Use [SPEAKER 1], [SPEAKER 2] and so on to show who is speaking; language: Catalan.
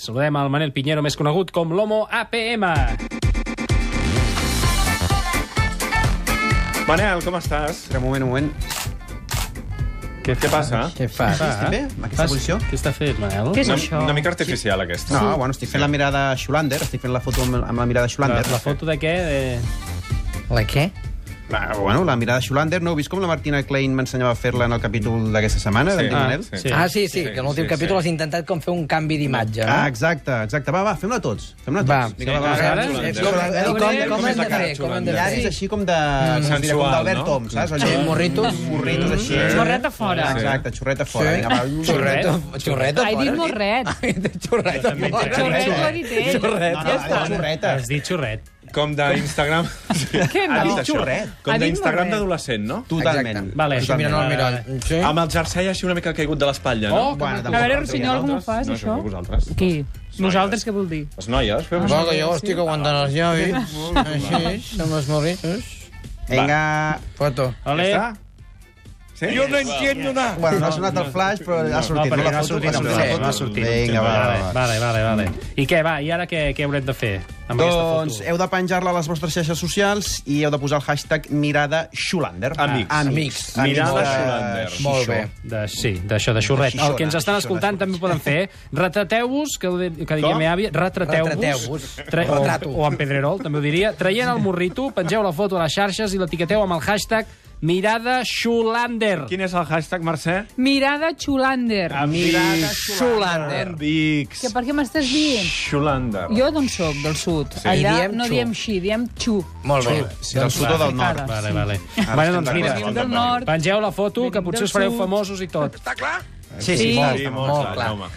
[SPEAKER 1] Saludem al Manel Pinheiro, més conegut com l'Homo APM.
[SPEAKER 2] Manel, com estàs?
[SPEAKER 3] Espera, un moment, un moment.
[SPEAKER 2] Què, què passa?
[SPEAKER 3] Què fas? Estic bé? Amb
[SPEAKER 1] Ah,
[SPEAKER 3] aquesta posició?
[SPEAKER 1] Què està fet, Manel?
[SPEAKER 4] Què és
[SPEAKER 2] Una,
[SPEAKER 4] això?
[SPEAKER 2] una mica artificial, aquesta.
[SPEAKER 3] No, bueno, estic fent la mirada a Scholander, estic fent la foto amb, amb la mirada a
[SPEAKER 1] La,
[SPEAKER 3] Scholander.
[SPEAKER 1] la foto de què? De...
[SPEAKER 5] La què?
[SPEAKER 3] La, Ah, bueno, la mirada a Scholander, no heu vist com la Martina Klein m'ensenyava a fer-la en el capítol d'aquesta setmana, sí.
[SPEAKER 2] ah,
[SPEAKER 3] Manel?
[SPEAKER 1] Sí.
[SPEAKER 2] sí.
[SPEAKER 5] Ah, sí, sí, que en
[SPEAKER 2] sí,
[SPEAKER 5] l'últim
[SPEAKER 2] sí.
[SPEAKER 5] capítol has intentat com fer un canvi d'imatge, no?
[SPEAKER 3] Ah, exacte, exacte. Va, va, fem-la tots. Fem-la tots.
[SPEAKER 5] Va.
[SPEAKER 3] Vinga, va,
[SPEAKER 1] Sí,
[SPEAKER 3] va,
[SPEAKER 1] ara?
[SPEAKER 3] va.
[SPEAKER 1] Sí,
[SPEAKER 5] com,
[SPEAKER 3] Scholander.
[SPEAKER 5] com, com,
[SPEAKER 3] Com és
[SPEAKER 5] com hem de
[SPEAKER 3] la
[SPEAKER 5] fer? Com hem de
[SPEAKER 3] Llavis
[SPEAKER 5] fer?
[SPEAKER 3] així com de...
[SPEAKER 2] Sensual,
[SPEAKER 3] com d'Albert
[SPEAKER 2] no?
[SPEAKER 3] Tom, saps? Allò,
[SPEAKER 5] Mm. Sí, Eh, morritos.
[SPEAKER 3] Morritos així.
[SPEAKER 4] Xorret a fora.
[SPEAKER 3] Exacte, xorreta fora. Vinga, va.
[SPEAKER 5] Xorreto, xorreto.
[SPEAKER 4] Ai,
[SPEAKER 5] fora.
[SPEAKER 4] dit
[SPEAKER 5] Ah,
[SPEAKER 4] morret.
[SPEAKER 5] Ai, Xorreto. fora.
[SPEAKER 4] Xorret, ho ha dit eh? ell.
[SPEAKER 3] No, no, Ah, va, xorreta.
[SPEAKER 1] Ah, Has dit xorret.
[SPEAKER 2] Ah, Com d'Instagram... Sí.
[SPEAKER 4] Què
[SPEAKER 2] Ha
[SPEAKER 4] no?
[SPEAKER 2] dit això.
[SPEAKER 3] xorret.
[SPEAKER 4] Ha
[SPEAKER 2] Com
[SPEAKER 4] dit
[SPEAKER 2] d'Instagram
[SPEAKER 4] molt eh? bé.
[SPEAKER 2] d'adolescent, no?
[SPEAKER 3] Totalment.
[SPEAKER 5] Exacte.
[SPEAKER 1] Vale.
[SPEAKER 5] Així mirant al mirall. Sí.
[SPEAKER 2] Amb el jersei així una mica caigut de l'espatlla,
[SPEAKER 1] Oh,
[SPEAKER 2] no?
[SPEAKER 3] Bueno,
[SPEAKER 4] A
[SPEAKER 3] tampoc
[SPEAKER 4] veure,
[SPEAKER 3] cal triar
[SPEAKER 4] Rossinyol, com ho
[SPEAKER 3] nosaltres.
[SPEAKER 4] fas,
[SPEAKER 2] eh? no,
[SPEAKER 4] això?
[SPEAKER 2] Vosaltres.
[SPEAKER 4] Qui? Vosaltres què vol dir?
[SPEAKER 2] Les noies. Fem...
[SPEAKER 5] Va, que jo estic aguantant els llavis. Així, amb els morritos.
[SPEAKER 3] Vinga.
[SPEAKER 5] Foto.
[SPEAKER 1] Ole.
[SPEAKER 2] Sí? Jo no entiendo nada.
[SPEAKER 3] Bueno, no ha sonat el flash, però ha
[SPEAKER 1] No,
[SPEAKER 3] sortit.
[SPEAKER 1] perquè
[SPEAKER 3] La
[SPEAKER 1] no ha
[SPEAKER 3] foto,
[SPEAKER 1] sortit
[SPEAKER 3] ha
[SPEAKER 1] el
[SPEAKER 3] sortit la
[SPEAKER 1] flash,
[SPEAKER 3] foto.
[SPEAKER 1] no ha sortit.
[SPEAKER 3] Vinga, va, va, va.
[SPEAKER 1] Vale, vale, vale. I què, va, i ara què, què haurem de fer amb
[SPEAKER 3] Doncs
[SPEAKER 1] aquesta foto?
[SPEAKER 3] heu de penjar-la a les vostres xarxes socials i heu de posar el hashtag mirada Schulander.
[SPEAKER 2] Amics.
[SPEAKER 3] Amics.
[SPEAKER 2] Mirada
[SPEAKER 3] Amics de
[SPEAKER 2] Scholander.
[SPEAKER 3] Xixó.
[SPEAKER 5] Molt bé.
[SPEAKER 1] De, sí, d'això, de xorret.
[SPEAKER 3] Xixona,
[SPEAKER 1] El que ens estan
[SPEAKER 3] xixona,
[SPEAKER 1] escoltant
[SPEAKER 3] xixona.
[SPEAKER 1] també ho poden fer. eh? Retrateu-vos, que, ho di- que diria
[SPEAKER 2] Com?
[SPEAKER 1] mi àvia, retrateu-vos.
[SPEAKER 5] Retrateu-vos.
[SPEAKER 1] Tre- o,
[SPEAKER 5] Retrato.
[SPEAKER 1] o en Pedrerol, també ho diria. Traient el morrito, pengeu la foto a les xarxes i l'etiqueteu amb el hashtag Mirada Schulander.
[SPEAKER 2] Quin és el hashtag, Mercè?
[SPEAKER 4] Mirada Xulander.
[SPEAKER 2] Ah. Amics.
[SPEAKER 5] Xulander.
[SPEAKER 2] Amics.
[SPEAKER 4] Que per què m'estàs dient?
[SPEAKER 2] Xulander.
[SPEAKER 4] Jo d'on sóc? Del sud.
[SPEAKER 2] Sí.
[SPEAKER 4] Allà
[SPEAKER 5] I diem
[SPEAKER 4] no
[SPEAKER 5] xu.
[SPEAKER 4] diem xi, diem xu.
[SPEAKER 5] Molt bé.
[SPEAKER 3] Si del sud o del nord.
[SPEAKER 4] Ara.
[SPEAKER 1] Vale, vale.
[SPEAKER 3] Ara
[SPEAKER 1] Vale,
[SPEAKER 3] estem
[SPEAKER 1] doncs mira,
[SPEAKER 3] d'acord.
[SPEAKER 4] Venim del nord.
[SPEAKER 1] pengeu la foto, que
[SPEAKER 4] Venim
[SPEAKER 1] potser
[SPEAKER 4] del
[SPEAKER 1] us fareu
[SPEAKER 4] sud.
[SPEAKER 1] famosos i tot.
[SPEAKER 5] Sí, sí,
[SPEAKER 2] Sí,
[SPEAKER 5] molt,
[SPEAKER 2] molt
[SPEAKER 5] molt
[SPEAKER 2] clar,
[SPEAKER 5] clar.
[SPEAKER 2] Jaume.